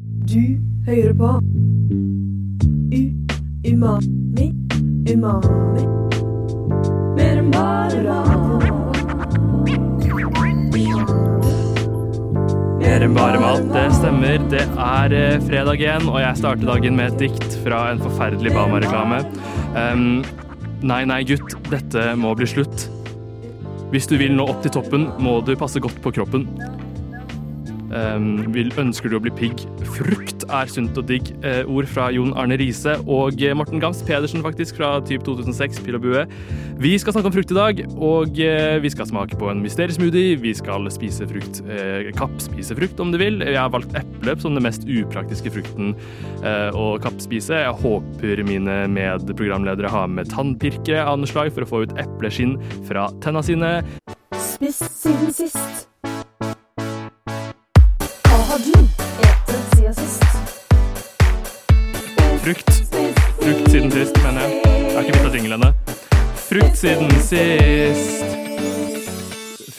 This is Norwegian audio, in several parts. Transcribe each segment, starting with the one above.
Du hører på U Umami Umami Mer enn bare mat Mer enn bare mat, det stemmer. Det er eh, fredag igjen, og jeg starter dagen med et dikt fra en forferdelig Bama-reklame. Ehm, nei, nei, gutt, dette må bli slutt. Hvis du vil nå opp til toppen, må du passe godt på kroppen. Ehm, vil, ønsker du å bli pigg? Frukt er sunt og digg. Eh, ord fra Jon Arne Riise og eh, Morten Gams Pedersen, faktisk, fra typ 2006, Pil og bue. Vi skal snakke om frukt i dag, og eh, vi skal smake på en mysteriesmoothie. Vi skal spise frukt, eh, kappspise frukt om du vil. Jeg har valgt eple som den mest upraktiske frukten eh, å kappspise. Jeg håper mine medprogramledere har med tannpirkere av noe slag for å få ut epleskinn fra tenna sine. Spist siden sist Hva har du etet siden sist? Frukt. Frukt siden sist, mener jeg. Jeg har ikke bytta jingle ennå. Frukt siden sist.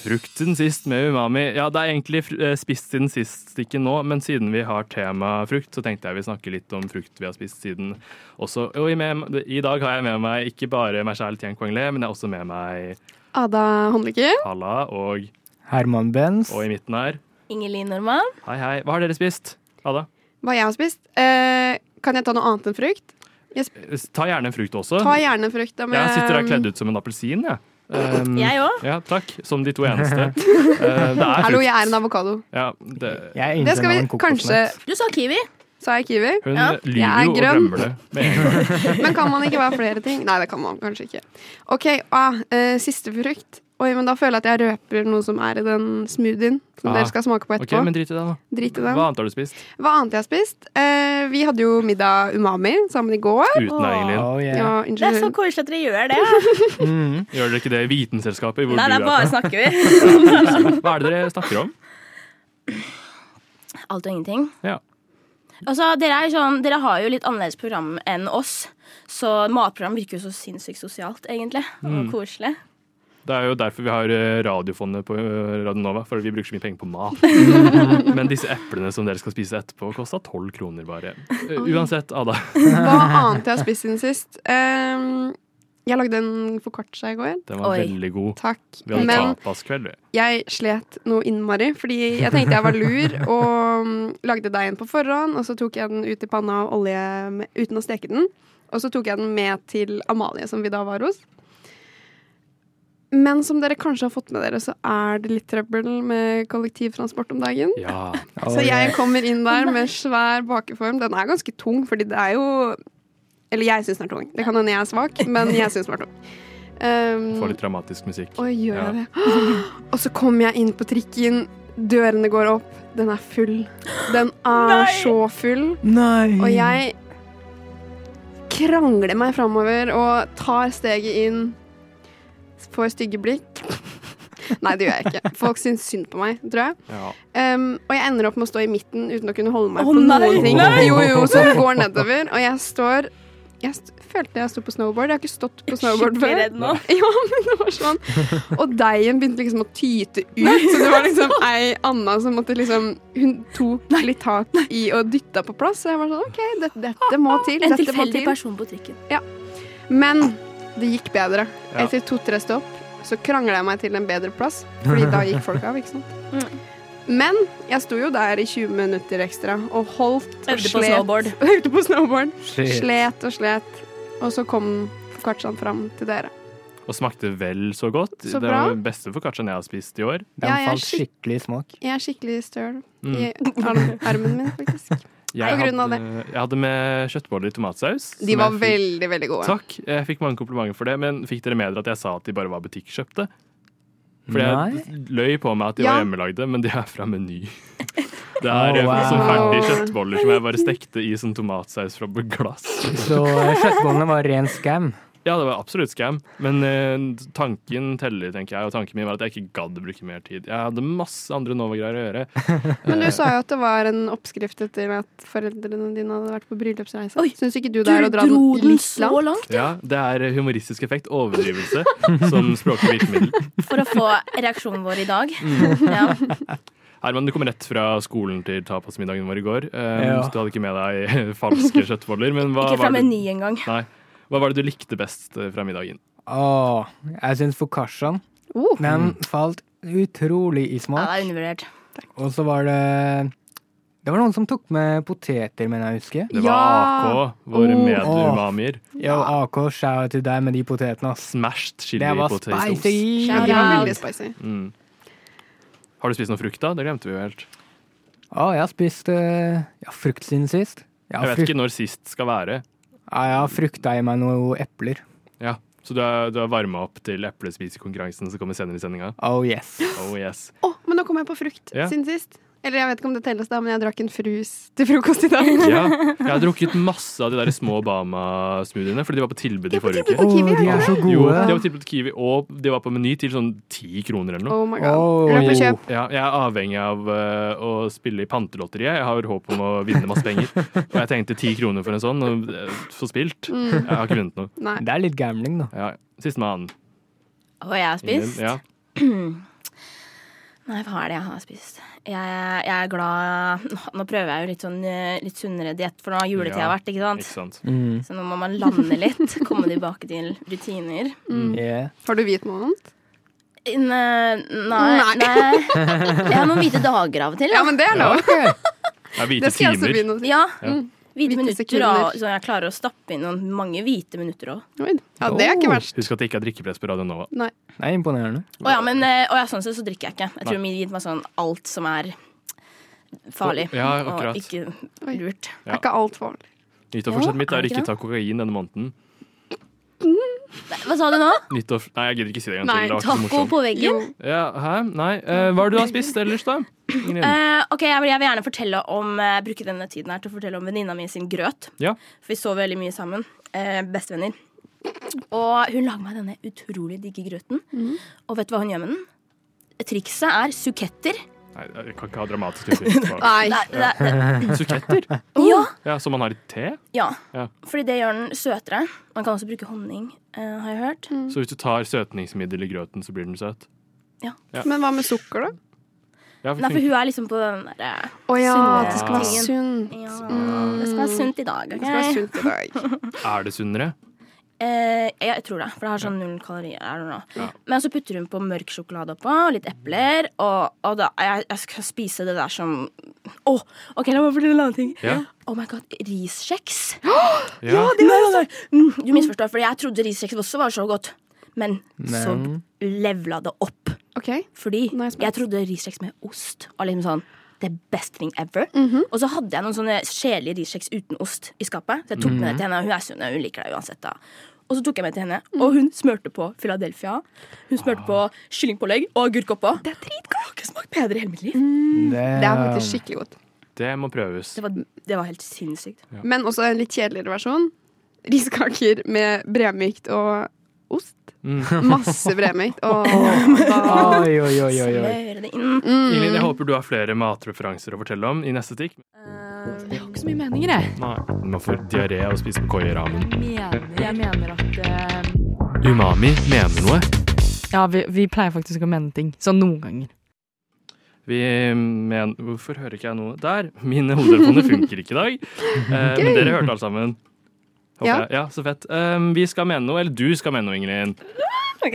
Frukt siden sist med umami. Ja, det er egentlig fr- eh, spist siden sist-stikken nå, men siden vi har tema frukt, så tenkte jeg vi snakker litt om frukt vi har spist siden også. Og i, med, I dag har jeg med meg ikke bare meg sjæl, Tien Kwang Le, men jeg har også med meg Ada Håndlykke. Halla, og, Herman Benz. og i midten her Ingelin Normann. Hei, hei. Hva har dere spist? Ada? Hva jeg har spist. Eh, kan jeg ta noe annet enn frukt? Eh, Ta gjerne en frukt også. Ta gjerne frukt. da, men- Jeg sitter her kledd ut som en appelsin, jeg. Um, Jeg òg. Ja, takk. Som de to eneste. Eh, det er Hallo, frukt. jeg er en avokado. Ja, det, Jeg Det skal vi kanskje Du sa kiwi. Sa jeg kiwi? hun Ja. Jeg lyver er jo og grønn. glemmer det med en gang. Men kan man ikke være flere ting? Nei, det kan man kanskje ikke. OK, ah, eh, siste frukt. Oi, men da føler jeg at jeg røper noe som er i den smoothien som Ah, dere skal smake på Ok, etterpå. men drit i det, da. Drit i Hva den. annet har du spist Hva annet jeg har spist? Eh, vi hadde jo middag umami sammen i går. uten deg, Ingelin? Ja, Oh, yeah. Det er så Mm. unnskyld. koselig at dere gjør det. Mhm. Gjør dere ikke det i Vitenselskapet? Hvor Nei, du er nei, bare fra? snakker vi. Hva er det dere snakker om? Alt og ingenting. Ja. Altså, dere, er jo sånn, dere har jo litt annerledes program enn oss, så matprogram virker jo så sinnssykt sosialt, egentlig. Mm. Og koselig. Det er jo derfor vi har eh, Radiofondet på eh, Radionova, for vi bruker så mye penger på mat. Men disse eplene som dere skal spise etterpå, kosta tolv kroner bare. Eh, Uansett, Ada. Hva annet jeg har spist siden sist? Eh, jeg lagde en foccaccia i går. Den var Oi. veldig god. Takk. Vi hadde Men tapaskveld, vi. jeg slet noe innmari, fordi jeg tenkte jeg var lur og mm, lagde deigen på forhånd, og så tok jeg den ut i panna av olje med, uten å steke den. Og så tok jeg den med til Amalie, som vi da var hos. Men som dere kanskje har fått med dere, så er det litt trøbbel med kollektivtransport om dagen. Ja. Oh, Så jeg yeah. kommer inn der med svær bakeform. Den er ganske tung, fordi det er jo Eller jeg syns den er tung. Det kan hende jeg er svak, men jeg syns den er tung. Um, Får litt dramatisk musikk. Oi, gjør Ja. jeg det? Og så kommer jeg inn på trikken, dørene går opp, den er full. Den er Nei! så full. Nei! Og jeg krangler meg framover og tar steget inn. Får stygge blikk. Nei, det gjør jeg ikke. Folk syns synd på meg, tror jeg. Ja. Um, og jeg ender opp med å stå i midten uten å kunne holde meg Å, på nei, noen ting. nei! Jo, jo, som går nedover. Og jeg står Jeg st følte jeg sto på snowboard. Jeg har ikke stått på snowboard Skikkelig før. redd nå. Ja, men det var sånn. Og deigen begynte liksom å tyte ut. Så det var liksom ei Anna som måtte liksom Hun tok litt tak i og dytta på plass. Så jeg var sånn OK, dette, dette må til. Ah, En Dette må tilfeldig til. person på trikken. Men det gikk bedre. Ja. Etter to-tre stopp så krangla jeg meg til en bedre plass, Fordi da gikk folk av, ikke sant. Mm. Men jeg sto jo der i 20 minutter ekstra og holdt og Øvde på slet. snowboard. Øvde på snowboard. Shit. Slet og slet. Og så kom foccacciaen fram til dere. Og smakte vel så godt. Så det bra. var den beste foccacciaen jeg har spist i år. Den Ja, jeg er falt skik- skikkelig i smak. Jeg er skikkelig støl Mm. i arm- armen min, faktisk. Jeg På grunn av hadde, jeg hadde med kjøttboller i tomatsaus. De som var jeg fikk- veldig, veldig gode. Takk. Jeg fikk mange komplimenter for det, men fikk dere med dere at jeg sa at de bare var butikkjøpte? Fordi jeg løy på meg at de Ja. var hjemmelagde, men de er fra Meny. Det er Oh, wow. eh, sånn ferdige Wow. kjøttboller som jeg bare stekte i sånn tomatsaus fra glass. Så eh, kjøttbollene var ren scam. Ja, det var absolutt scam, men eh, tanken teller, tenker jeg. Og tanken min var at jeg ikke gadd å bruke mer tid. Jeg hadde masse andre Nova-greier å gjøre. Men du sa jo at det var en oppskrift etter at foreldrene dine hadde vært på bryllupsreise. Oi, Syns ikke du Du det er å dra dro den den litt så langt? langt Ja, det er humoristisk effekt, overdrivelse, som språklig virkemiddel. Mm. for å få reaksjonen vår i dag. Ja. Herman, du kom rett fra skolen til tapasmiddagen vår i går. Um, Ja. Så du hadde ikke med deg falske kjøttboller. Men hva, Ikke fra var det, Meny engang. nei, hva var det du likte best eh, fra middagen? Åh, jeg syns focacciaen Oh, Den falt utrolig i Ja, smak. det er undervurdert. Og så var det Det var noen som tok med poteter, mener jeg å huske. Det var Ja. AK, våre Oh. medumamier. Ja, og AK, shout out til deg med de potetene, ass. Smashed chili Det var potatoes. spicy! ja, de var veldig spicy. Mm. Har du spist noe frukt, da? Det glemte vi jo helt. Å, jeg har spist eh, ja, frukt siden sist. Jeg Jeg har, vet frukt, ikke når sist skal være. ja, jeg har frukta i meg noen epler. Ja, Så du er, du er varma opp til eplespisekonkurransen som kommer senere i sendinga? Oh yes. Oh yes. Å, men nå kom jeg på frukt Ja. siden sist. Eller jeg vet ikke om det telles, da, men jeg drakk en frus til frokost i dag. Ja, jeg har drukket masse av de der små Bama-smoothiene, fordi de var på tilbud i forrige uke. På Å, Kiwi, de er er så Jo, de gode. Oh, var tilbudt Kiwi, og de var på Meny til sånn ti kroner eller noe. Oh my god. Oh. Løp og kjøp. Ja, jeg er avhengig av eh, å spille i pantelotteriet. Jeg har håp om å vinne masse penger. Og jeg tenkte ti kroner for en sånn, og eh, få spilt. Jeg har ikke vunnet noe. Nei. Det er litt gambling, da. Ja. Sistemann. Og jeg har Ingen. spist. Ja. Nei, hva er det jeg har spist? Jeg, jeg er glad Nå- Nå prøver jeg jo litt sånn eh, litt sunnere diett, for nå har juletida Ja, vært, ikke sant? Ikke sant. Mm. Så nå må man lande litt, komme tilbake til rutiner. Yeah. Har du hvit måned? Nei, eh, nei. Nei. Jeg har noen hvite dager av og til. Ja, men det er lov. Det er hvite Det skal jeg også timer. begynne å si. Ja. Mm. Hvite Hvite minutter, sekunder. og, så jeg klarer å stappe inn noen mange hvite minutter òg. Oi. Ja, det er ikke Oh. verst. Husk at det ikke er drikkepress på Radio Nova. Nei. Det er imponerende. Å ja, men eh, å ja, sånn sett så drikker jeg ikke. Jeg tror det gitt meg sånn alt som er farlig Ja, akkurat. og ikke Oi. lurt. Det er ikke alt farlig. Nyttårsforsettet Ja, mitt er er det ikke ikke ta kokain denne måneden. Hva sa du nå? Nyttår... Nei, jeg gidder ikke si det en gang Nei, til. Det var ikke så Taco morsomt. på veggen? Ja, hæ? Nei. eh, hva er det du har spist ellers, da? Ingrid? Eh, ok, jeg vil, jeg vil gjerne fortelle om eh, bruke denne tiden her til å fortelle om venninna mi sin grøt. Ja. For vi sov veldig mye sammen. Eh, bestevenner. Og hun lager meg denne utrolig digge grøten. Mhm. Og vet du hva hun gjør med den? Trikset er suketter. Nei, jeg kan ikke ha dramatisk uttrykk. Nei. Det, det, det, Suketter? ja. Ja, Som man har i te? ja. Ja. Fordi det gjør den søtere. Man kan også bruke honning, eh, har jeg hørt. Mm. Så hvis du tar søtningsmiddel i grøten, så blir den søt? Men hva med sukker, da? Ja, for Nei, for tenk- hun er liksom på den derre Å ja, Sunnere. det skal være sunt. ja, Det skal være sunt i dag. Det skal være ok? sunt i dag. Er det sunnere? Eh, ja, jeg tror det, for det har sånn null kalorier. I don't know. Ja. Men så putter hun på mørk sjokolade oppå, og litt epler, og, og da, jeg, jeg skal spise det der som Å! OK, la meg fortelle en annen ting. Ja. Oh my god, riskjeks. Ja. Nei, nei, nei. Mm, Du misforstår, for jeg trodde riskjeks også var så godt. Men, Men- så levla det opp. OK. Fordi Nå er jeg spent. jeg trodde riskjeks med ost var liksom sånn the best thing ever. Mhm. Og så hadde jeg noen sånne kjedelige riskjeks uten ost i skapet. Så jeg tok med det til henne, og hun er sunn, og hun liker det uansett. da. Og så tok jeg med til henne, Mhm. og hun smørte på Philadelphia. Hun smørte på kyllingpålegg og agurk oppå. Det er dritgodt. Jeg har ikke smakt bedre i hele mitt liv. Mhm. Det er Eh, faktisk skikkelig godt. Det må prøves. Det var, det var helt sinnssykt. Men også en litt kjedeligere versjon. Riskaker med bremykt og ost. Mm. Masse bremykt. Og da Oi, oi, oi, oi, oi. Smøre det inn. Ingrid, Mm. jeg håper du har flere matreferanser å fortelle om i neste stikk. Jeg har ikke så mye meninger, jeg. Nei, man får diaré av å spise McCoy i ramen. Mener, jeg mener at eh, Umami mener noe. Ja, vi, vi pleier faktisk å mene ting. Sånn noen ganger. Vi eh, men... Hvorfor hører ikke jeg noe? Der! Mine hodetelefoner funker ikke i dag. Eh, men dere hørte alt sammen. Håper Ja. jeg. ja, så fett. Um, vi skal mene noe, eller du skal mene noe, Ingrid. Ok,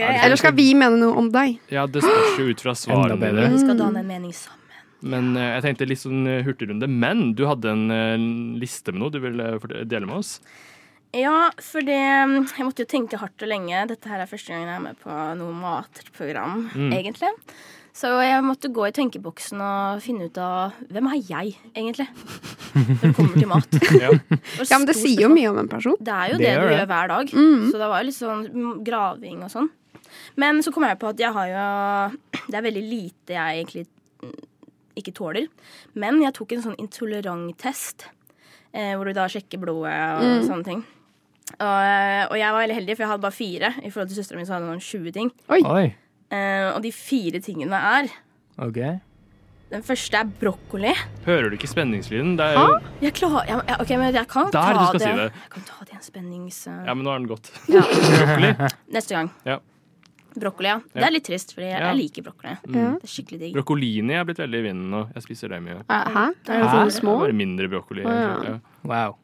Er sånn Eller skal vi mene noe om deg? Ja, Det spørs jo ut fra svarene Enda bedre. dine. Vi skal danne en mening sammen. Men eh, jeg tenkte litt sånn eh, hurtigrunde. Men du hadde en eh, liste med noe du ville eh, fortelle- dele med oss. Ja, for det Jeg måtte jo tenke hardt og lenge. Dette her er første gangen jeg er med på noe matprogram, egentlig. Så jeg måtte gå i tenkeboksen og finne ut av hvem er jeg, egentlig, når det kommer til mat. Ja. Og Ja, men det stort sier jo mye om en person. spørsmål. Det er jo Det det, gjør du det. gjør hver dag. Så det var jo litt sånn mm, graving og sånn. Men så kom jeg på at jeg har jo Det er veldig lite jeg egentlig mm, ikke tåler. Men jeg tok en sånn intolerant-test, eh, hvor du da sjekker blodet og sånne ting. Og, eh, og jeg var veldig heldig, for jeg hadde bare fire. I forhold til søstera mi så hadde hun 20 ting. Oi. Eh, og de fire tingene er OK. Den første er brokkoli. Hører du ikke spenningslyden? Det er jo... Jeg klarer jeg, jeg, Ok, men jeg kan Der ta du skal det. si det. Jeg kan ta det i en spennings... Ja, men nå er den gått. Ja. Brokkoli. Neste gang. Ja. Brokkoli, ja. Det Ja. er litt trist, fordi Ja. jeg, Mm. jeg liker brokkoli. Ja. Det er skikkelig digg. Brokkolini er blitt veldig i vinden nå. Jeg spiser det mye. Hæ? Er det Hæ? sånne små? Bare mindre brokkoli. Å, ja. egentlig. Ja. Wow.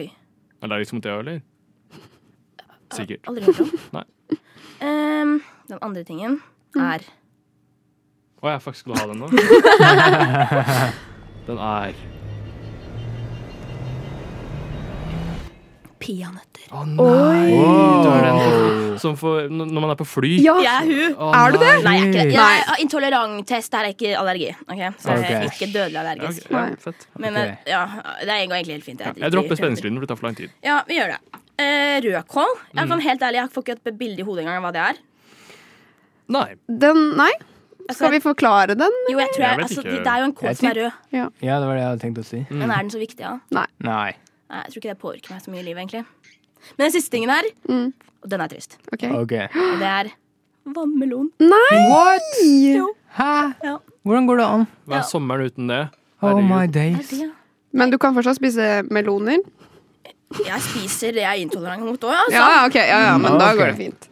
Oi. Allergisk mot det òg, eller? Sikkert. Aldri hørt om. Nei. Ehm, den andre tingen Mm. er Å, jeg faktisk skulle ha den nå. Den er peanøtter. Å nei! Du er den Wow. som- som får, når når man er på fly. Ja! Jeg er hun. Å, Er du det? Nei, jeg er ikke det. Nei. Jeg har intolerant test, det er ikke allergi. Ok? Så jeg er Ok. ikke dødelig allergisk. Ok, ja, fett. Men Ok. eh, ja, det er egentlig helt fint. Ja, driter jeg i dropper peanøtter. spenningslyden, for det tar for lang tid. Ja, vi gjør det. Eh, rødkål. Jeg Mm. kan helt ærlig, jeg får ikke et bilde i hodet engang av hva det er. Nei. Den Nei? Altså- Skal vi forklare den? Jo, jeg tror jeg, Jeg vet altså, ikke. Mm. det, det er jo en kål Jeg som er tror- rød, Ja, det var det jeg hadde tenkt å si. men er den så viktig, da? Nei. Nei, jeg tror ikke det påvirker meg så mye i livet, egentlig. Men den siste tingen her, Mm. og den er trist, OK. OK. og det er vannmelon. Nei! What?! Jo. Hæ? Ja. Hvordan går det an? Hva Ja. er sommeren uten det? Oh Herregud. my Er det days. det? Men du kan fortsatt spise meloner? Jeg spiser det jeg er intolerant mot òg, altså. Ja, ja, ok, ja, ja, men da Ok. går det fint.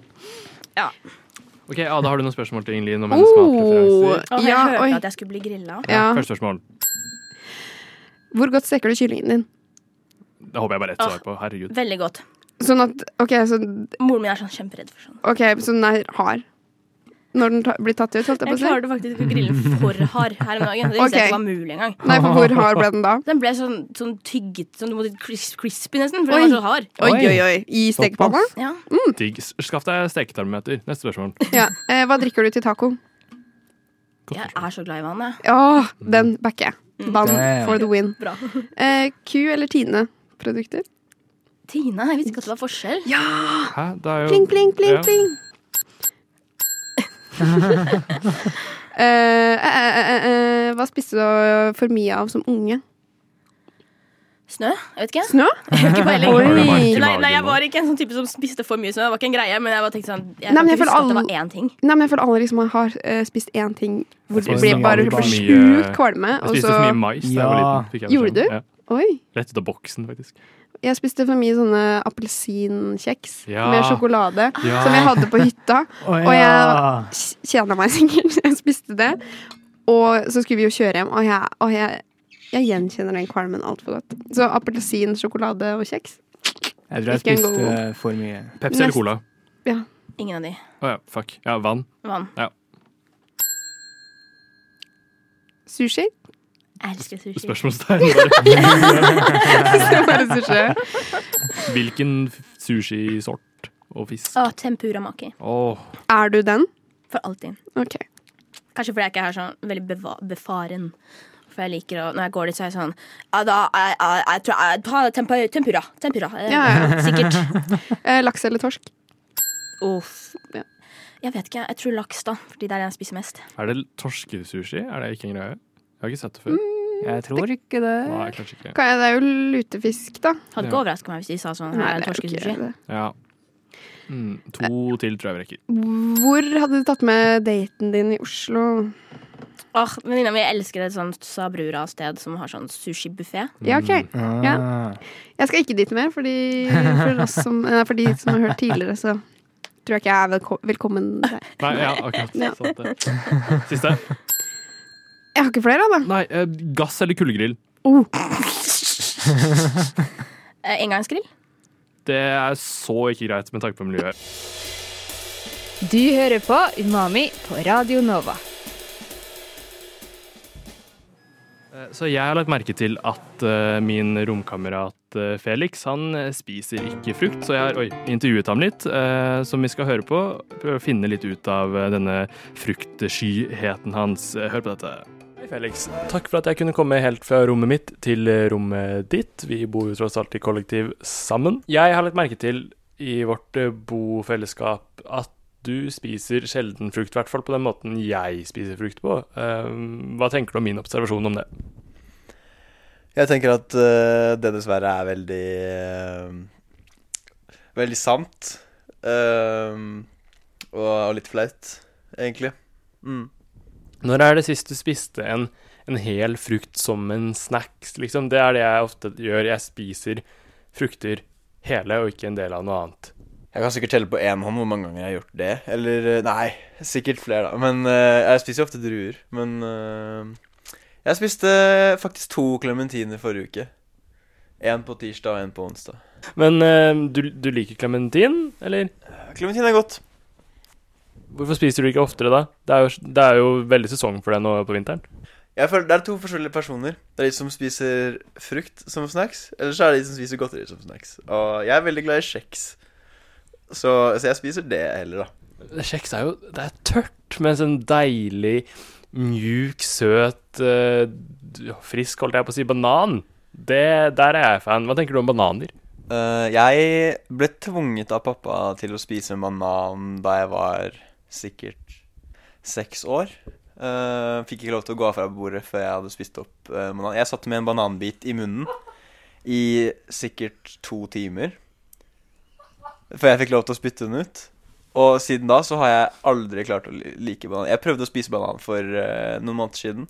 Ok, Ada, har du noen spørsmål til Ingelin om hennes Oh, smakreferanser? Og jeg ja, hørte oi. at jeg skulle bli grilla. Ja. Første spørsmål. Hvor godt steker du kyllingen din? Det håper jeg bare ett svar Ah. på. Herregud. Veldig godt. Sånn at OK, så, Moren min er sånn kjemperedd for sånn. ok, så den er hard når den ta, blir tatt ut, holdt jeg på Jeg å si? klarte faktisk ikke å grille den for hard her om dagen. Det visste Ok. jeg ikke var mulig engang. Nei, for hvor hard ble den da? Den ble sånn, sånn tygget, sånn du måtte cris- crispy nesten, for Oi. den var så hard. Oi, Oi. oi, oi. I stekepanna? Ja. Digg. Skaff deg steketermometer. Neste spørsmål. Ja. Eh, hva drikker du til taco? Godt Jeg spørsmål. er så glad i vann, jeg. Åh, den backer jeg. Vann Damn. for the win. Mm. Bra. Eh, Q eller Tine? Produkter? Tine, jeg visste ikke at det var forskjell. Hæ? Det er jo Pling, pling, pling, Ja. pling. Eh, eh, eh, eh, eh, hva spiste du for mye av som unge? Snø? Jeg vet ikke. Snø? Jeg vet ikke peiling. Oi. Har du varmt i Nei, nei, magen jeg nå? var ikke en sånn type som spiste for mye snø. Det var ikke en greie, men jeg bare tenkte sånn Jeg Nei, kan men jeg ikke huske føler at det alle- var én ting. Nei, men jeg føler alle liksom har eh, spist én ting hvor Jeg det spiste blir bare mye- blir mye- sjukt kvalme. Jeg Og spiste for mye så mais da jeg var Ja. liten. Fikk jeg Gjorde beskjed om. du? Ja. Oi. Rett ut av boksen, faktisk. Jeg spiste for mye sånne appelsinkjeks Ja. med sjokolade Ja. som jeg hadde på hytta. Å Og ja. jeg kjeda meg sikkert. Jeg spiste det. Og så skulle vi jo kjøre hjem, og jeg, og jeg, jeg gjenkjenner den kvalmen altfor godt. Så appelsin, sjokolade og kjeks. Jeg tror jeg Ikke en god- spiste eh, for mye. Pepsi eller Neste- cola? Ingen av de. Å ja, fuck. Ja, vann. Vann. Sushi. Jeg elsker sushi. Spørsmålstegn. bare. Så bare sushi. Hvilken f- sushisort og fisk? Ah. Å, tempura maki. Åh, Er du den? For alltid. OK. Kanskje fordi jeg ikke er sånn veldig beva befaren. For jeg liker å Når jeg går dit, så er jeg sånn «Ja, da, jeg, jeg, jeg tror jeg tar tempa- tempura. Tempura. eh, Ja, ja. Sikkert. Eh, Laks eller torsk? Uff. Ja. Jeg vet ikke. Jeg tror laks, da. Fordi det er det jeg spiser mest. Er det torskesushi? Er det ikke en greie? Jeg har ikke sett det før. Jeg tror ikke det. Nei, kanskje ikke. Kan jeg, det er jo lutefisk, da. Ja. Hadde ikke overraska meg hvis de sa sånn. Her Nei, er det er en jo ikke torskesushi. det. Ja. Mm, to til tror jeg vi rekker. Hvor hadde du tatt med daten din i Oslo? Åh, Venninna mi elsker et sånt Sabrura-sted som har sånn sushibuffé. Ja, OK. Ja. Ah. Jeg skal ikke dit mer, fordi for, oss som, nei, for de som har hørt tidligere, så tror jeg ikke jeg er velko velkommen der. Nei, ja, akkurat. Ja. Sant det. Siste. Jeg har ikke flere, da. Nei, eh, gass eller kullgrill? Oh, Eh, engangsgrill. Det er så ikke greit med tanke på miljøet. Du hører på Umami på Radio Nova. Eh, Så jeg har lagt merke til at eh, min romkamerat eh, Felix, han eh, spiser ikke frukt, så jeg har oi, intervjuet ham litt, eh, som vi skal høre på. Prøve å finne litt ut av eh, denne fruktskyheten hans. Eh, Hør på dette. Hei, Felix. Takk for at jeg kunne komme helt fra rommet mitt til eh, rommet ditt. Vi bor jo tross alt i kollektiv sammen. Jeg har lagt merke til i vårt eh, bofellesskap at du spiser sjelden frukt, i hvert fall på den måten jeg spiser frukt på. Eh, Hva tenker du om min observasjon om det? Jeg tenker at eh, det dessverre er veldig eh, Veldig sant. Ehm, og, og litt flaut, egentlig. Mm. Når er det sist du spiste en, en hel frukt som en snacks, liksom? Det er det jeg ofte gjør. Jeg spiser frukter hele og ikke en del av noe annet. Jeg kan sikkert telle på én hånd hvor mange ganger jeg har gjort det. Eller eh, Nei, sikkert flere, da. Men eh, jeg spiser jo ofte druer. Men eh, jeg spiste faktisk to klementiner forrige uke. Én på tirsdag og én på onsdag. Men eh, du, du liker klementin, eller? Klementin er godt. Hvorfor spiser du ikke oftere, da? Det er jo, det er jo veldig sesong for det nå på vinteren. Jeg føler Det er to forskjellige personer. Det er de som spiser frukt som snacks, eller så er det de som spiser godteri som snacks. Og jeg er veldig glad i kjeks, så, så jeg spiser det heller, da. Kjeks er jo Det er tørt, men sånn deilig, mjuk, søt, eh, d- frisk, holdt jeg på å si, banan. Det, der er jeg fan. Hva tenker du om bananer? Eh, jeg ble tvunget av pappa til å spise en banan da jeg var sikkert seks år. Eh, fikk ikke lov til å gå av fra bordet før jeg hadde spist opp eh, banan. Jeg satt med en bananbit i munnen i sikkert to timer før jeg fikk lov til å spytte den ut. Og siden da så har jeg aldri klart å li- like banan. Jeg prøvde å spise banan for eh, noen måneder siden,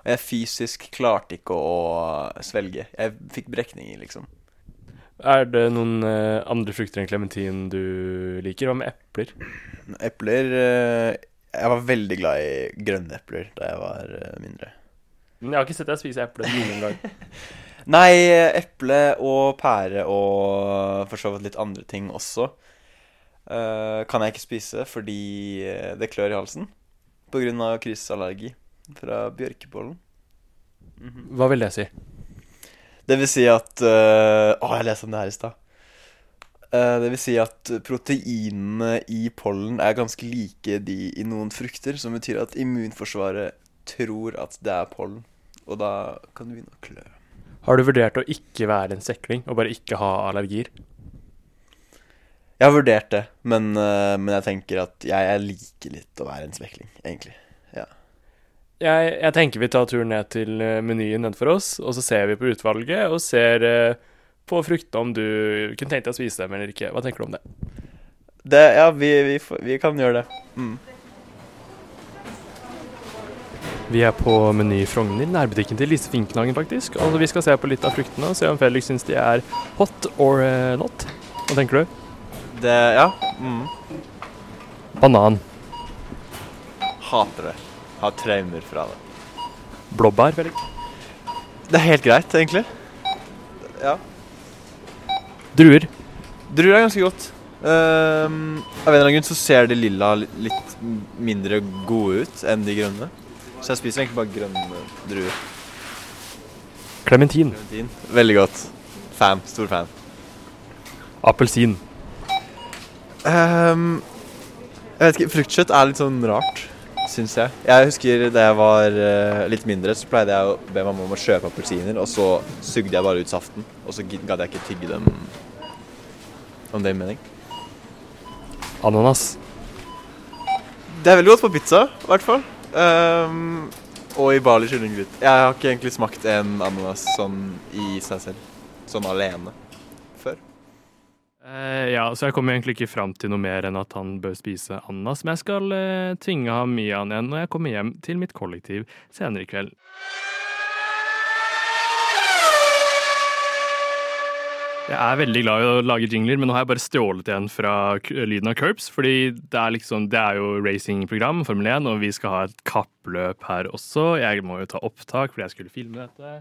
og jeg fysisk klarte ikke å svelge. Jeg fikk brekninger, liksom. Er det noen eh, andre frukter enn klementin du liker? Hva med epler? Epler eh, Jeg var veldig glad i grønne epler da jeg var eh, mindre. Men Jeg har ikke sett deg spise eple noen gang. Nei, eple og pære og for så vidt litt andre ting også eh, kan jeg ikke spise fordi eh, det klør i halsen på grunn av kryssallergi fra bjørkepollen. Hva vil det si? Det vil si at øh, Å, jeg leste om det her i stad. Eh, det vil si at proteinene i pollen er ganske like de i noen frukter, som betyr at immunforsvaret tror at det er pollen, og da kan det begynne å klø. Har du vurdert å ikke være en sekling og bare ikke ha allergier? Jeg har vurdert det, men, eh, men jeg tenker at jeg, jeg liker litt å være en svekling, egentlig. Jeg, jeg tenker vi tar turen ned til eh, menyen nedenfor oss, og så ser vi på utvalget og ser eh, på fruktene om du kunne tenkt deg å spise dem eller ikke. Hva tenker du om det? Det, ja, vi, vi, får- vi kan gjøre det. Mm. Vi er på Meny Frogner, nærbutikken til Lise Finknagen faktisk. Og vi skal se på litt av fruktene og se om Felix syns de er hot or eh, not. Hva tenker du? Det Ja. Mm. Banan, Hater det. Har traumer fra det. blåbær, Felix. Det er helt greit, egentlig. Ja. Druer. Druer er ganske godt. Ehm, av en eller annen grunn så ser de lilla li- litt mindre gode ut enn de grønne. Så jeg spiser egentlig bare grønne druer. Klementin. Clementin. Veldig godt. Fan. Stor fan. Appelsin. Ehm, jeg vet ikke, Fruktkjøtt er litt sånn rart, syns jeg. Jeg husker da jeg var eh, litt mindre, så pleide jeg å be mamma om å kjøpe appelsiner, og så sugde jeg bare ut saften. Og så gid- gadd jeg ikke tygge dem. Om det gir mening. Ananas. Det er veldig godt på pizza, i hvert fall. Ehm, og i Bali kyllinggryte. Jeg har ikke egentlig smakt en ananas sånn i seg selv. Sånn alene. Eh, ja, så jeg kommer egentlig ikke fram til noe mer enn at han bør spise ananas, men jeg skal eh, tvinge ham i han igjen når jeg kommer hjem til mitt kollektiv senere i kveld. Jeg er veldig glad i å lage jingler, men nå har jeg bare stjålet en fra K- lyden av Curbs, fordi det er, liksom, det er jo racingprogram, Formel 1, og vi skal ha et kappløp her også. Jeg må jo ta opptak fordi jeg skulle filme dette.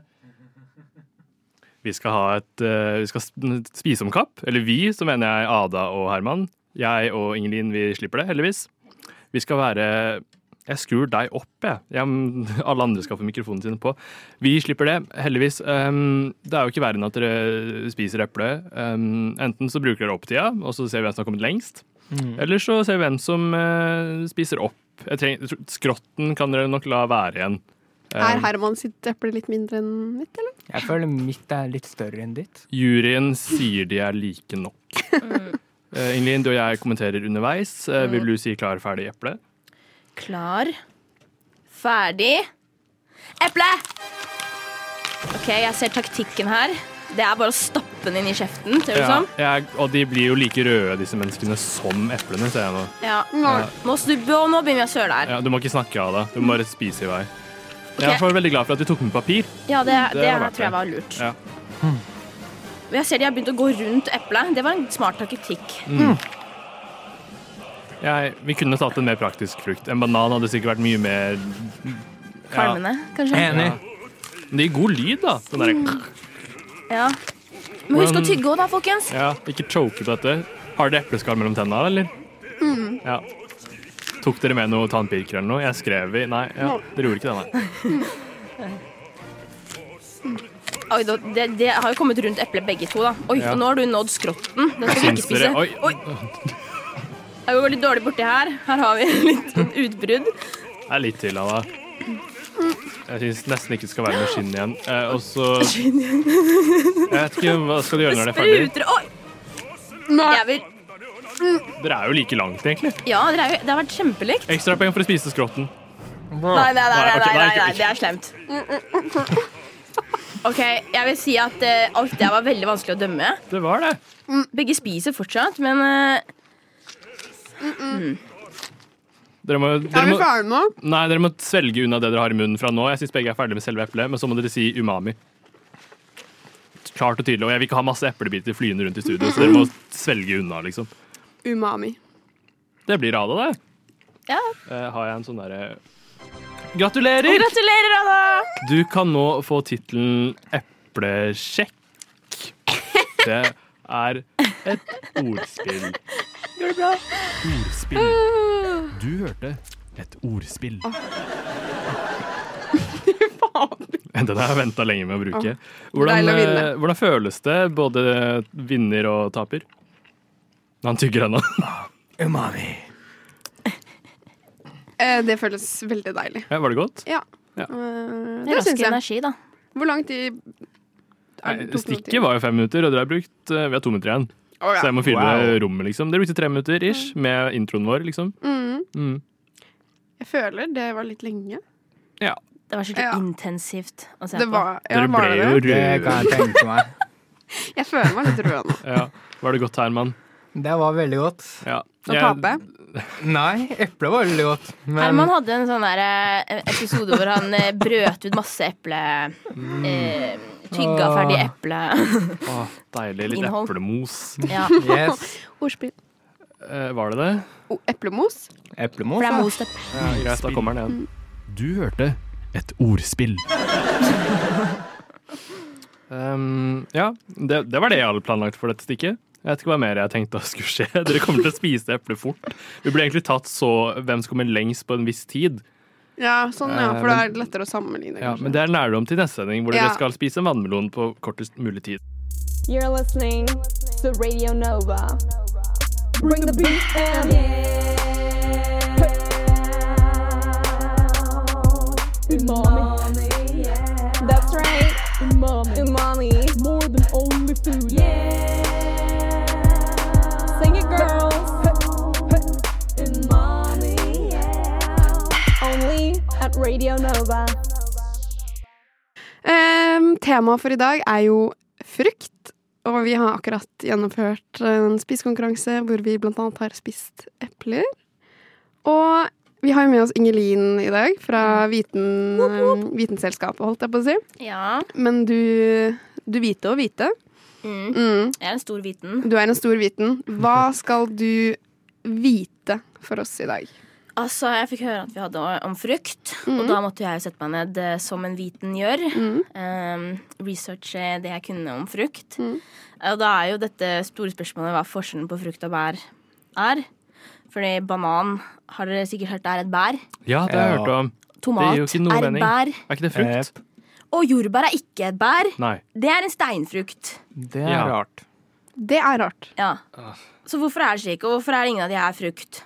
Vi skal, ha et, eh, vi skal sp- spise om kapp. Eller vi, så mener jeg Ada og Herman. Jeg og Ingelin, vi slipper det, heldigvis. Vi skal være Jeg skrur deg opp, jeg. jeg. Alle andre skal få mikrofonen sin på. Vi slipper det, heldigvis. Um, det er jo ikke verre enn at dere spiser eple. Um, enten så bruker dere opp tida, og så ser vi hvem som har kommet lengst. Eller så ser vi hvem som eh, spiser opp. Jeg treng, jeg tror- skrotten kan dere nok la være igjen. Eh. Er Herman sitt eple litt mindre enn mitt, eller? Jeg føler mitt er litt større enn ditt. Juryen sier de er like nok. Eh, Ingelin, du og jeg kommenterer underveis. Eh, vil du si klar, ferdig, eple? Klar. Ferdig. Eple! OK, jeg ser taktikken her. Det er bare å stappe den inn i kjeften. Ser du Ja, sånn? jeg, og de blir jo like røde, disse menneskene, som eplene, ser jeg nå. Ja. Ja. Nå, snubbe, og nå begynner vi å søle her. Ja, du må ikke snakke av deg. Du må bare spise i vei. Jeg Ok. er i hvert fall veldig glad for at vi tok med papir. Ja, det, det, Det var verdt tror jeg det. var lurt. Ja. Jeg ser de har begynt å gå rundt eplet. Det var en smart taktikk. Jeg, vi kunne tatt en mer praktisk frukt. En banan hadde sikkert vært mye mer Kvalmende, kanskje. Enig. Men det gir god lyd, da. Den der, Ja. Men husk å Men- tygge òg, da, folkens. ja, ikke choke på dette. Har dere epleskall mellom tennene, eller? Ja. Tok dere med noe tannpirker eller noe? Jeg skrev i Nei, ja, dere gjorde ikke det, nei. Oi, da- det, det har jo kommet rundt eplet begge to, da. Oi, Ja. og nå har du nådd skrotten. Den skal vi ikke Syns spise. dere Oi, Det går litt dårlig borti her. Her har vi litt sånn utbrudd. det er litt til av det. Jeg syns nesten ikke det skal være noe skinn igjen. Eh, og så Jeg vet ikke, hva skal du gjøre når det er ferdig? Spruter Oi! Jeg vil Dere er jo like langt, egentlig. Ja, det, er jo, det har vært kjempelikt. Ekstrapoeng for å spise skrotten. Nei, nei, nei, Nei, nei, ok, nei, nei, nei, ikke- nei det er slemt. OK, jeg vil si at eh, alt det her var veldig vanskelig å dømme. Det var det. Begge spiser fortsatt, men eh, Dere må, Er dere vi må ferdige nå? Nei, dere må svelge unna det dere har i munnen fra nå. Jeg syns begge er ferdige med selve eplet, men så må dere si umami. Klart og tydelig. Og jeg vil ikke ha masse eplebiter flyende rundt i studio, så dere må svelge unna, liksom. Umami. Det blir Ada, det. Ja. Eh, har jeg en sånn derre Gratulerer! Gratulerer, Anna! Du kan nå få tittelen eplesjekk. Det er et ordspill. Gjør det bra. Ordspill. Du hørte et ordspill. Den har jeg venta lenge med å bruke. Hvordan, Deilig å vinne. eh, hvordan føles det, både vinner og taper? Han tygger ennå. Umami. Eh, det føles veldig deilig. Ja, Var det godt? Ja. Ja. Eh, Det det er syns rask jeg. energi, da. Hvor lang tid Nei, Stikket var jo fem minutter, og dere har brukt eh, Vi har to minutter igjen, Å, så ja. jeg må fylle Wow. rommet, liksom. Dere brukte tre minutter ish med introen vår, liksom. Mm. Mm. Jeg føler det var litt lenge. Det var skikkelig Ja. intensivt å se Det på. var, ja, Dere var ble det jo det? Det røde. kan jeg tenke meg. Jeg føler meg litt rød nå. Ja. Var det godt, Herman? Det var veldig godt. Ja. Å tape. Nei, eplet var veldig godt. Herman Men hadde en sånn der eh, episode hvor han eh, brøt ut masse eple Mm. eh, Tygga Åh. ferdig eple. Å, deilig. Litt Innhold. eplemos. ja. yes. Ordspill. Eh, var det det? O- eplemos? Eplemos, For det er da. most eple. Ja, greit, da kommer den igjen. Mm. Du hørte et ordspill. um, ja, det, det var det jeg hadde planlagt for dette stikket. Jeg vet ikke hva mer jeg tenkte at skulle skje. Dere kommer til å spise eplet fort. Vi ble egentlig tatt så hvem som kommer lengst på en viss tid. Ja, sånn, ja. Eh, For da men- er det lettere å sammenligne, Ja, kanskje. men det er lærdom til neste sending, hvor Ja. dere skal spise en vannmelon på kortest mulig tid. You're listening to Radio Nova. Bring the beat and Umami. That's right. Umami. Umami. More than only food. Yeah. Sing it, girls. Umami. Only at Radio Nova. Ehm, Temaet for i dag er jo frukt. Og vi har akkurat gjennomført en spisekonkurranse hvor vi blant annet har spist epler. Og vi har jo med oss Ingelin i dag fra viten, ehm, Vitenselskapet, holdt jeg på å si. Ja. Men du, du vite og vite. Mm. Mm, Jeg er en stor viten. du er en stor viten. Hva skal du vite for oss i dag? Altså, Jeg fikk høre at vi hadde om frukt, og da måtte jeg sette meg ned eh, som en viten gjør. eh, researche det jeg kunne om frukt. Og da er jo dette store spørsmålet hva forskjellen på frukt og bær er. Fordi banan har dere sikkert hørt er et bær. Ja, det har jeg Ja. hørt om. Tomat gir jo ikke noe er et mening. bær. Er ikke det frukt? Og jordbær er ikke et bær. Nei. Det er en steinfrukt. Det er Ja. rart. Det er rart. Ja. Så hvorfor er det slik, og hvorfor er ingen av de her frukt?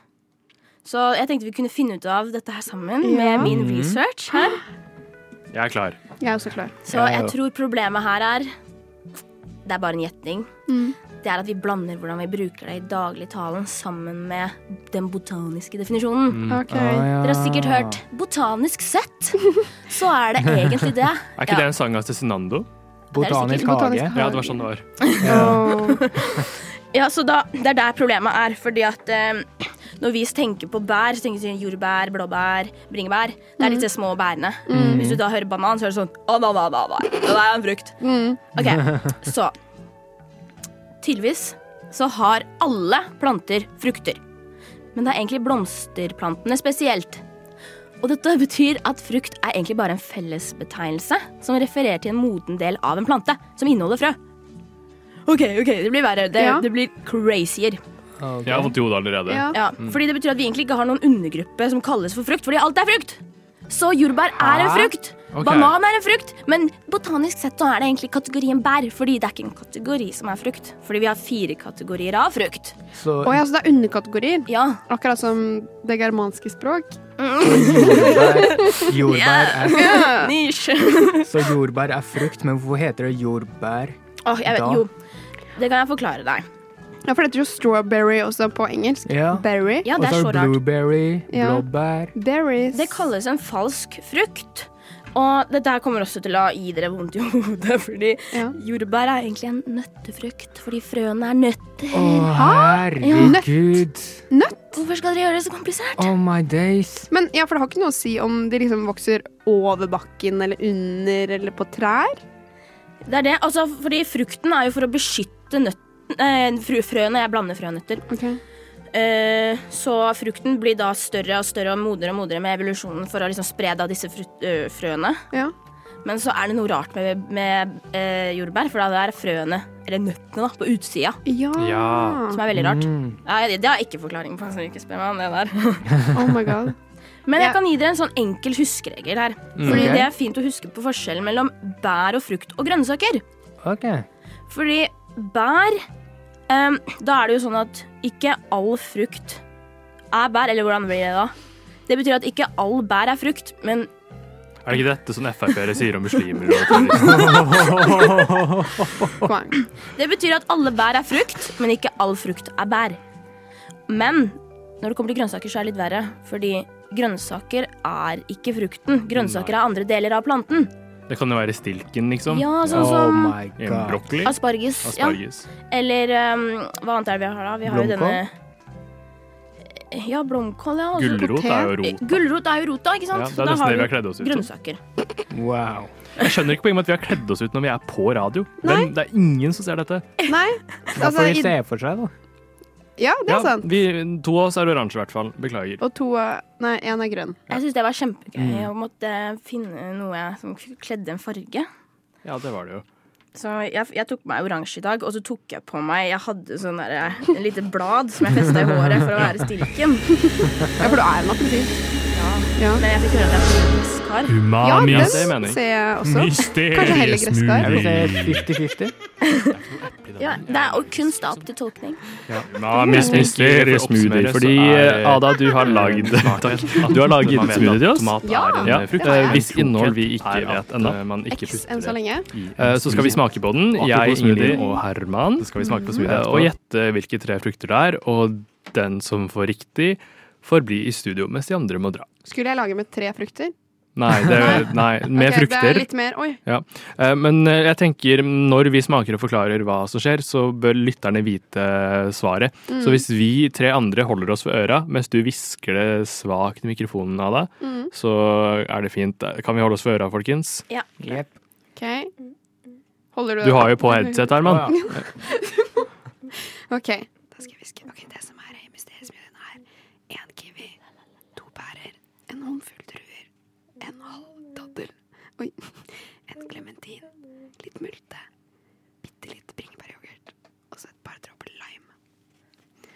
Så jeg tenkte vi kunne finne ut av dette her sammen Ja. med min research her. Jeg er klar. Jeg er også klar. Så Mhm. Ja, ja. jeg tror problemet her er Det er bare en gjetning. Mm, Det er at vi blander hvordan vi bruker det i dagligtalen sammen med den botaniske definisjonen. Mm. Ok. Ah, Dere har sikkert hørt 'botanisk sett'. Så er det egentlig det. Er ikke Ja. det en sang av Cezinando? Botanisk sikkert hage. botanisk- Ja, det var sånn det var. Åh. Ja, så da, Det er der problemet er. fordi at eh, Når vi tenker på bær, så tenker vi sånn jordbær, blåbær, bringebær. Det er disse små bærene. Hvis du da hører banan, så er det sånn «Å, da, da, da, da. Ja, Det er en frukt. Ok, Så Tydeligvis så har alle planter frukter. Men det er egentlig blomsterplantene spesielt. Og dette betyr at frukt er egentlig bare en fellesbetegnelse som refererer til en moden del av en plante som inneholder frø. OK, ok, det blir verre. Det, Ja. det blir crazier. Ok. Jeg har vondt i hodet allerede. Ja. Ja, fordi det betyr at vi egentlig ikke har noen undergruppe som kalles for frukt, fordi alt er frukt. Så jordbær er en Hæ? frukt. Ok. Banan er en frukt. Men botanisk sett så er det egentlig kategorien bær, fordi det er ikke en kategori som er frukt. Fordi vi har fire kategorier av frukt. Så Å ja, så det er underkategorier. Ja. Akkurat som det germanske språk. jordbær, jordbær er Nisje. Så jordbær er frukt, men hvorfor heter det jordbær? Åh, jeg vet Da. jo. Det kan jeg forklare deg. Ja, for det heter jo strawberry også på engelsk. Ja. Berry. Ja, Og det så er er så det rart. blueberry, Ja. blåbær Berries. Det kalles en falsk frukt. Og dette her kommer også til å gi dere vondt i hodet, fordi Ja. jordbær er egentlig en nøttefrukt, fordi frøene er nøtter. Å, herregud. Nøtt. Hvorfor skal dere gjøre det så komplisert? Oh my days. Men ja, for det har ikke noe å si om de liksom vokser over bakken eller under eller på trær. Det er det, altså, fordi frukten er jo for å beskytte nøtt, eh, fru- frøene. Jeg blander frønøtter. Eh, så frukten blir da større og større og modnere og modnere med evolusjonen for å liksom spre da disse frut, eh, frøene. Ja. Men så er det noe rart med, med eh, jordbær, for da er frøene, eller nøttene, da, på utsida. Ja. Ja. Som er veldig rart. Mm. Nei, det har jeg ikke forklaring på, så ikke spør meg om det der. Oh my god. Men Ja. jeg kan gi dere en sånn enkel huskeregel her. Fordi Ok. det er fint å huske på forskjellen mellom bær og frukt og grønnsaker. Ok. Fordi bær em, Da er det jo sånn at ikke all frukt er bær. Eller hvordan blir det da? Det betyr at ikke all bær er frukt, men Er det ikke dette som Frp-ere sier om muslimer? Og sånn? terrorister? Poeng. det betyr at alle bær er frukt, men ikke all frukt er bær. Men når det kommer til grønnsaker, så er det litt verre. Fordi grønnsaker er ikke frukten. Grønnsaker er andre deler av planten. det kan jo være stilken, liksom. Ja, sånn Oh som my En god. Brokkoli. Altså, asparges. Ja. Asparges. Eller em, hva annet er det vi har da? Vi har jo denne Ja, blomkål, ja. Altså, Altså, og så- Gulrot er jo rot. Eh, Gulrot er jo rota, Ja, ikke sant? det Så er da nesten det du vi har kledd oss ut som. Grønnsaker. Wow. Jeg skjønner ikke poenget med at vi har kledd oss ut når vi er på radio. Hvem, det er ingen som ser dette. Nei. Da Altså, får de i, se for seg, da. ja, det er Ja, sant. vi, to av oss er oransje, i hvert fall. Beklager. Og to er- Nei, én er grønn. Jeg syns det var kjempegøy Mm. å måtte finne noe som kledde en farge. Ja, det var det jo. Så jeg, jeg tok på meg oransje i dag, og så tok jeg på meg Jeg hadde sånn der, et lite blad som jeg festa i håret for å være stilken. Ja, for du er en appelsin. Ja. Men jeg fikk høre at jeg er politisk kar. Um. Ja, Umami. den det mener jeg. ser jeg også. Kanskje heller gresskar. Jeg vil Mm. se 50-50. Ja, det er jo kunst da, opp til tolkning. Mamis mysteriesmoothie. Fordi Ada, du har lagd Takk. Du har laget smoothie til oss. Ja, eh, Ja, Eh, det har jeg. Hvis innhold vi ikke vet ennå. X enn så lenge. Eh, Så skal vi smake på den. Apropos Jeg, Ingrid smoothie. og Herman. Skal vi smake på Eh, smoothie Og gjette hvilke tre frukter det er. Og den som får riktig, får bli i studio, mens de andre må dra. Skulle jeg lage med tre frukter? Nei, det, nei med Ok, Det er frukter. litt mer. Oi. Eh, Men eh, jeg tenker når vi smaker og forklarer hva som skjer, så bør lytterne vite eh, svaret. Så hvis vi tre andre holder oss for øra mens du hvisker det svakt i mikrofonen, Ada, så er det fint. Eh, Kan vi holde oss for øra, folkens? Jepp. OK. Holder du Du har jo på headset, Herman. Å, ja. OK. Da skal jeg hviske. Ok, Det som er i mysteriesmoothien, er én kiwi, to pærer, en håndfull druer, en halv daddel, oi, en klementin, litt multe, bitte litt bringebæryoghurt og så et par dråper lime.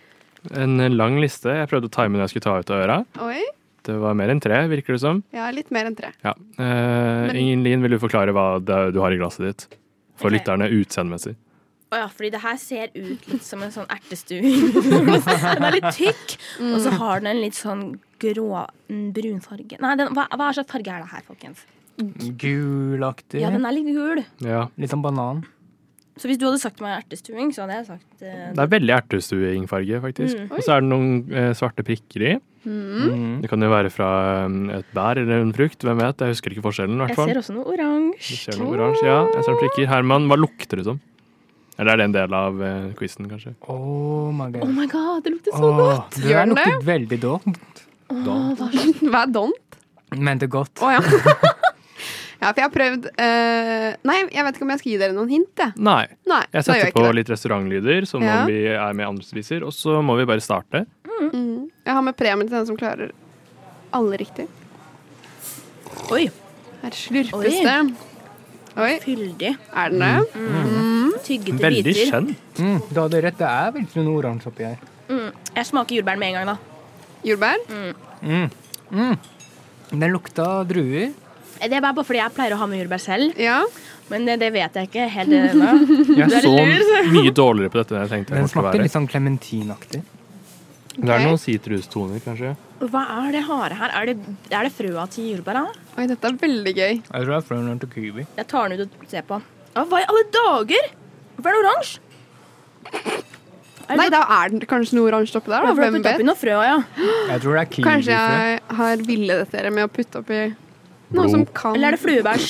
En eh, lang liste. Jeg prøvde å time når jeg skulle ta ut av øra. Oi. Det var mer enn tre, virker det som. Ja, litt mer enn tre. Ja. Eh, Ingen Lien, vil du forklare hva det, du har i glasset ditt? For Ok. lytterne utseendemessig. Å ja, fordi det her ser ut litt som en sånn ertestue. den er litt tykk, og så har den en litt sånn grå brun farge. Nei, den, hva, hva slags farge er det her, folkens? Gulaktig. Ja, den er litt gul. Ja. Litt sånn banan. Så hvis du hadde sagt meg ertestuing, så hadde jeg sagt eh, Det er veldig ertestueingfarge, faktisk. Og så er det noen eh, svarte prikker i. Mm. Mm. Det kan jo være fra eh, et bær eller en frukt, hvem vet. Jeg husker ikke forskjellen, i hvert Jeg fall. ser også noe oransje. Du ser noe oransje, ja. Jeg ser noen prikker. Herman, hva lukter det som? Eller er det en del av eh, quizen, kanskje? Oh my Oh god. my god, det lukter så Åh, det Gjør der den det? lukter veldig dårlig, godt. Hva er don? men det er godt. Å ja. Ja, for jeg har prøvd eh, Nei, jeg vet ikke om jeg skal gi dere noen hint, jeg. Nei. Nei, da Jeg gjør setter ikke på det. litt restaurantlyder, som Ja. om vi er med i andre spiser, og så må vi bare starte. Mhm. Jeg har med premien til den som klarer alle riktig. Oi. Her slurpes det. Oi, Fyldig. er den det? Tyggete Veldig biter. skjønn. Mm, du hadde rett, det er virkelig noe oransje oppi her. Mm. Jeg smaker jordbær med en gang, da. Jordbær? Den lukta druer. Det er bare fordi jeg pleier å ha med jordbær selv, Ja. men det, det vet jeg ikke helt ennå. Jeg Du er er så lur, mye dårligere på dette enn jeg tenkte Den jeg kom smakte til å litt være. sånn klementinaktig. Det er Ok. noen sitrustoner, kanskje. Hva er det harde her? Er det, er det frøa til jordbæra? Oi, dette er veldig gøy. Jeg tror det er frøen til kiwi. Jeg tar den ut og ser på. Å, hva i alle dager? Hvorfor er det oransje? Nei, da er det kanskje noe oransje oppi der, da. Hvorfor har du Hvem puttet oppi vet? noe frø, ja? Jeg tror det er Kanskje kiwifrø. jeg har villedet dere med å putte oppi noe som kan Eller er det fluebæsj?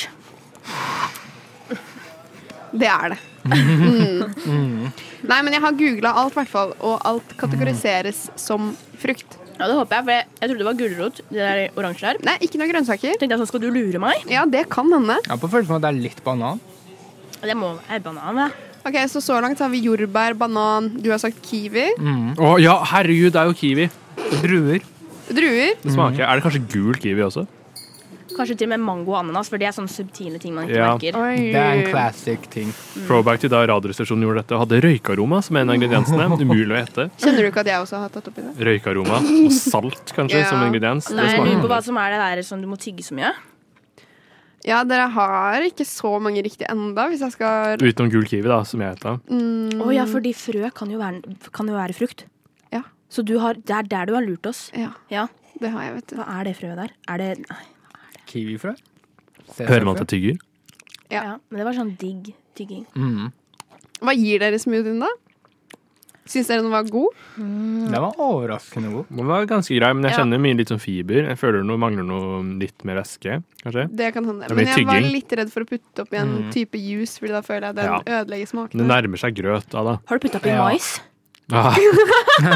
Det er det. Mm. Nei, men jeg har googla alt, i hvert fall, og alt kategoriseres som frukt. Ja, det håper jeg, for jeg, jeg trodde det var gulrot, det der oransje der. Nei, ikke noe grønnsaker. Tenkte jeg sånn, skal du lure meg? Ja, det kan hende. Jeg har på følelsen av at det er litt banan. Det må være banan, ja. Ok, Så så langt har vi jordbær, banan, du har sagt kiwi, Å ja, herregud, det er jo kiwi. Druer. druer. Det smaker. Er det kanskje gul kiwi også? Kanskje til og med mango og ananas, for det er sånne subtile ting man ikke Ja. merker. Oi. Det er en classic ting. Throwback til da Radioresepsjonen gjorde dette og hadde røykaroma som en av ingrediensene. Umulig å gjette. Kjenner du ikke at jeg også har tatt oppi det? Røykaroma og salt, kanskje, Ja. som ingrediens. Nei, Det jeg lurer på hva smaker. som er det der som du må tygge så mye. Ja, dere har ikke så mange riktige enda, hvis jeg skal Utenom gul kiwi, da, som jeg heter. Å ja, fordi frø kan jo være, kan jo være frukt. Ja. Så du har, det er der du har lurt oss. Ja, Ja. det har jeg, vet du. Hva er det frøet der? Er det Nei. Kiwifrø. Hører man at jeg tygger? Ja. Ja. Men det var sånn digg tygging. Mm. Hva gir dere smoothien, da? Syns dere den var god? Den var overraskende god. Den var ganske grei, men jeg Ja. kjenner mye litt sånn fiber. Jeg føler noe mangler noe litt mer væske, kanskje. Det kan hende. Det blir Men jeg var tygging. litt redd for å putte oppi en type juice, Fordi da føler jeg den Mm. Ja. ødelegger smaken. Men det nærmer seg grøt da, da. Har du putta oppi Ja. mais? Ah,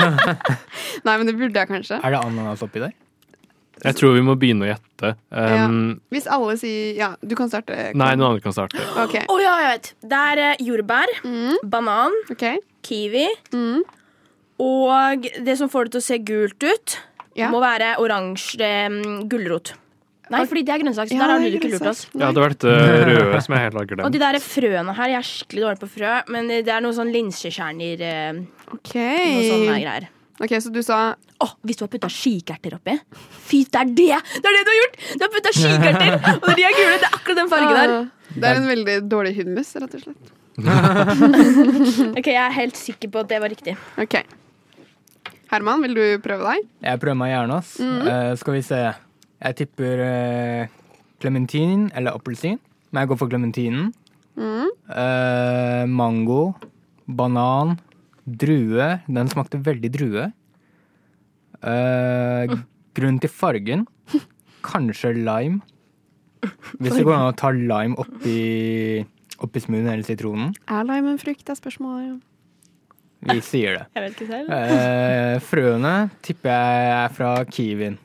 Nei, men det burde jeg kanskje. Er det ananas oppi der? jeg tror vi må begynne å gjette. Um, Hvis alle sier ja, du kan starte. Karl. Nei, noen andre kan starte. Ok, Å ja, jeg vet. Det er eh, jordbær, banan, ok. kiwi Mm. og det som får det til å se gult ut, Ja. må være oransje eh, gulrot. Nei, fordi det er grønnsak, så der har du ikke lurt oss. Ja, det var dette røde som jeg helt har Og de glemt. der frøene her, jeg er skikkelig dårlig på frø, men det er noe sånn linsekjerner eh, Ok. Noe sånne greier. ok, så du sa Å, hvis du har putta skikerter oppi Fy, det er det! Det er det du har gjort! Du har putta skikerter! Og de er gule. Det er akkurat den fargen der. Ah, Det er en veldig dårlig hummus, rett og slett. Ok, Jeg er helt sikker på at det var riktig. Ok. Herman, vil du prøve deg? Jeg prøver meg gjerne, ass. Eh, skal vi se. Jeg tipper klementin eller appelsin. Men jeg går for klementinen. Eh, mango, banan, drue. Den smakte veldig drue. Eh, grunn til fargen. Kanskje lime. Hvis det går an å ta lime oppi, oppi smoothien eller sitronen. Er lime en frukt, er spørsmålet. Vi sier det. Jeg vet ikke selv. Eh, frøene tipper jeg er fra kiwien,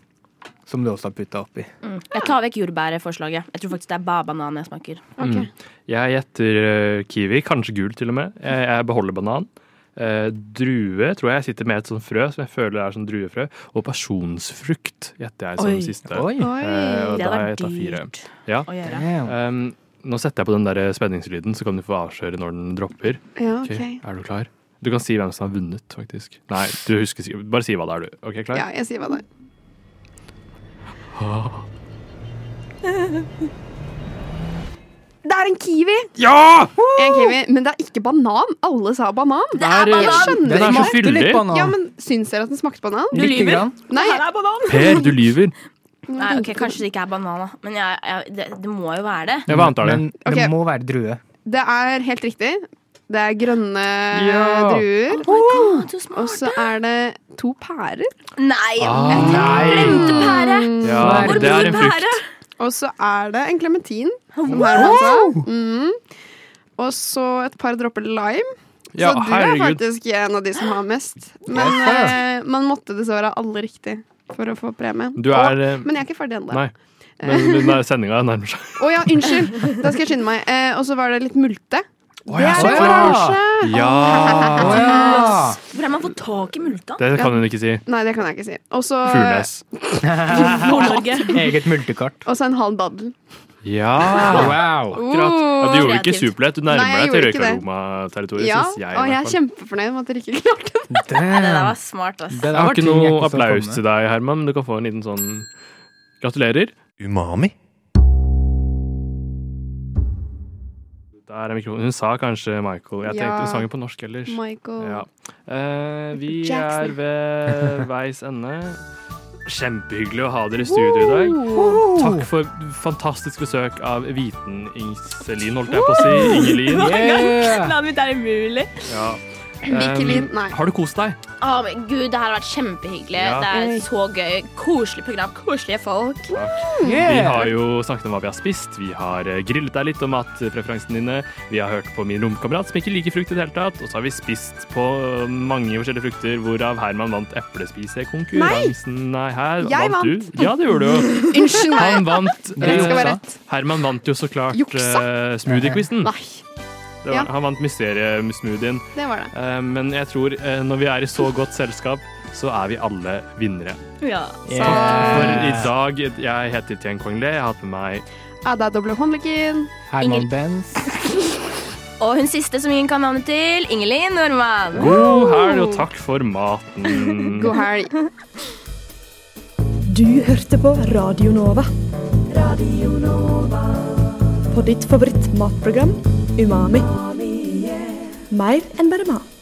som du også har putta oppi. Mm. Jeg tar vekk jordbærforslaget. Jeg tror faktisk det er bare banan jeg smaker. Mm. Ok. Jeg gjetter eh, kiwi, kanskje gul til og med. Jeg, jeg beholder banan. Eh, drue tror jeg jeg sitter med et sånt frø som jeg føler er sånn druefrø. Og pasjonsfrukt gjetter jeg som Oi. siste. Oi! Eh, Oi. og Det da har hadde jeg tatt fire. vært dyrt Ja. å gjøre. Damn. Um, nå setter jeg på den der spenningslyden, så kan du få avsløre når den dropper. Ja, Ok, ok. Er du klar? Du kan si hvem som har vunnet, faktisk. Nei, du husker sikkert. Bare si hva det er, du. Ok, klar? Ja, jeg sier hva det er. Det er en kiwi! Ja! En kiwi, Men det er ikke banan. Alle sa banan. Det er, Jeg skjønner Den er så ikke. Smakte litt fyldig. banan. Ja, men Syns dere at den smakte banan? Du Lite lyver. grann. Nei, Her er banan! Per, du lyver. Nei, ok, Kanskje det ikke er banan, da. Men jeg, jeg, det, det må jo være det. Ja, hva annet er det? Men det Ok. må være drue. det er helt riktig. Det er grønne Ja. druer. God, så Og smart. så er det to pærer. Nei! Ah, Glemte pære! ja, Hvor det er blir en pære? frukt. Og så er det en klementin. som Herman Uh. sa. Mm. Og så et par dropper lime. Ja, så du er herregud. faktisk en av de som har mest. Men eh, man måtte dessverre ha alle riktig for å få premie. Du er eh, Men jeg er ikke ferdig ennå. Nei. Men den der sendinga nærmer seg. Å ja, unnskyld! Da skal jeg skynde meg. Eh, og så var det litt multe. ja, det er så det klart. oransje! Ja! Å ja! Hvor er man får tak i multa? Det kan hun ikke si. Nei, det kan jeg ikke si. Og så Furnes. Nord-Norge. Eget multekart. og så en halv baddel. Ja! Wow. Akkurat. Ja, du gjorde ikke kreativt. superlett. Du Nei, nærmer deg jeg til gjorde ikke det. røykaroma-territoriet, Ja, synes jeg. i og hvert jeg er fall. kjempefornøyd med at dere ikke klarte det. Det der Damn. var smart, ass. Det der Jeg var har ikke ting jeg noe ikke så applaus komme. til deg, Herman, men du kan få en liten sånn Gratulerer. Umami? Der er mikrofonen. Hun sa kanskje Michael. Jeg Ja. tenkte hun sang den på norsk ellers. Michael. Ja. Eh, vi Jackson. er ved veis ende. Kjempehyggelig å ha dere i studio i dag. Takk for fantastisk besøk av Viten Iselin, holdt jeg på å si. Ingelin. Yeah. Landet mitt er umulig. Ja. Um, Ikke lin, nei. Har du kost deg? Å, men Gud, det her har vært kjempehyggelig. Ja. Det er et så gøy. Koselig program. Koselige folk. Vi Yeah. har jo snakket om hva vi har spist, vi har eh, grillet deg litt om matpreferansene dine, vi har hørt på min romkamerat som ikke liker frukt i det hele tatt, og så har vi spist på mange forskjellige frukter, hvorav Herman vant eplespisekonkurransen. Nei, her Jeg vant du. Ja, det gjorde du jo. Unnskyld meg. Han vant. Det skal eh, være rett. Herman vant jo så klart Juksa? eh, smoothie-quizen. Nei, Det var- ja. Han vant mysteriesmoothien. det var det. Eh, men jeg tror eh, når vi er i så godt selskap, så er vi alle vinnere. Ja. For Yeah. i dag, jeg heter Tien Kongle, jeg har hatt med meg Ada doble håndleggen. Herman Benz. Og hun siste som ingen kan navnet til, Ingelin Normann. God helg, og takk for maten. God helg. Du hørte på Radio Nova. Radio Nova. På ditt favorittmatprogram Umami. Mer enn bare mat.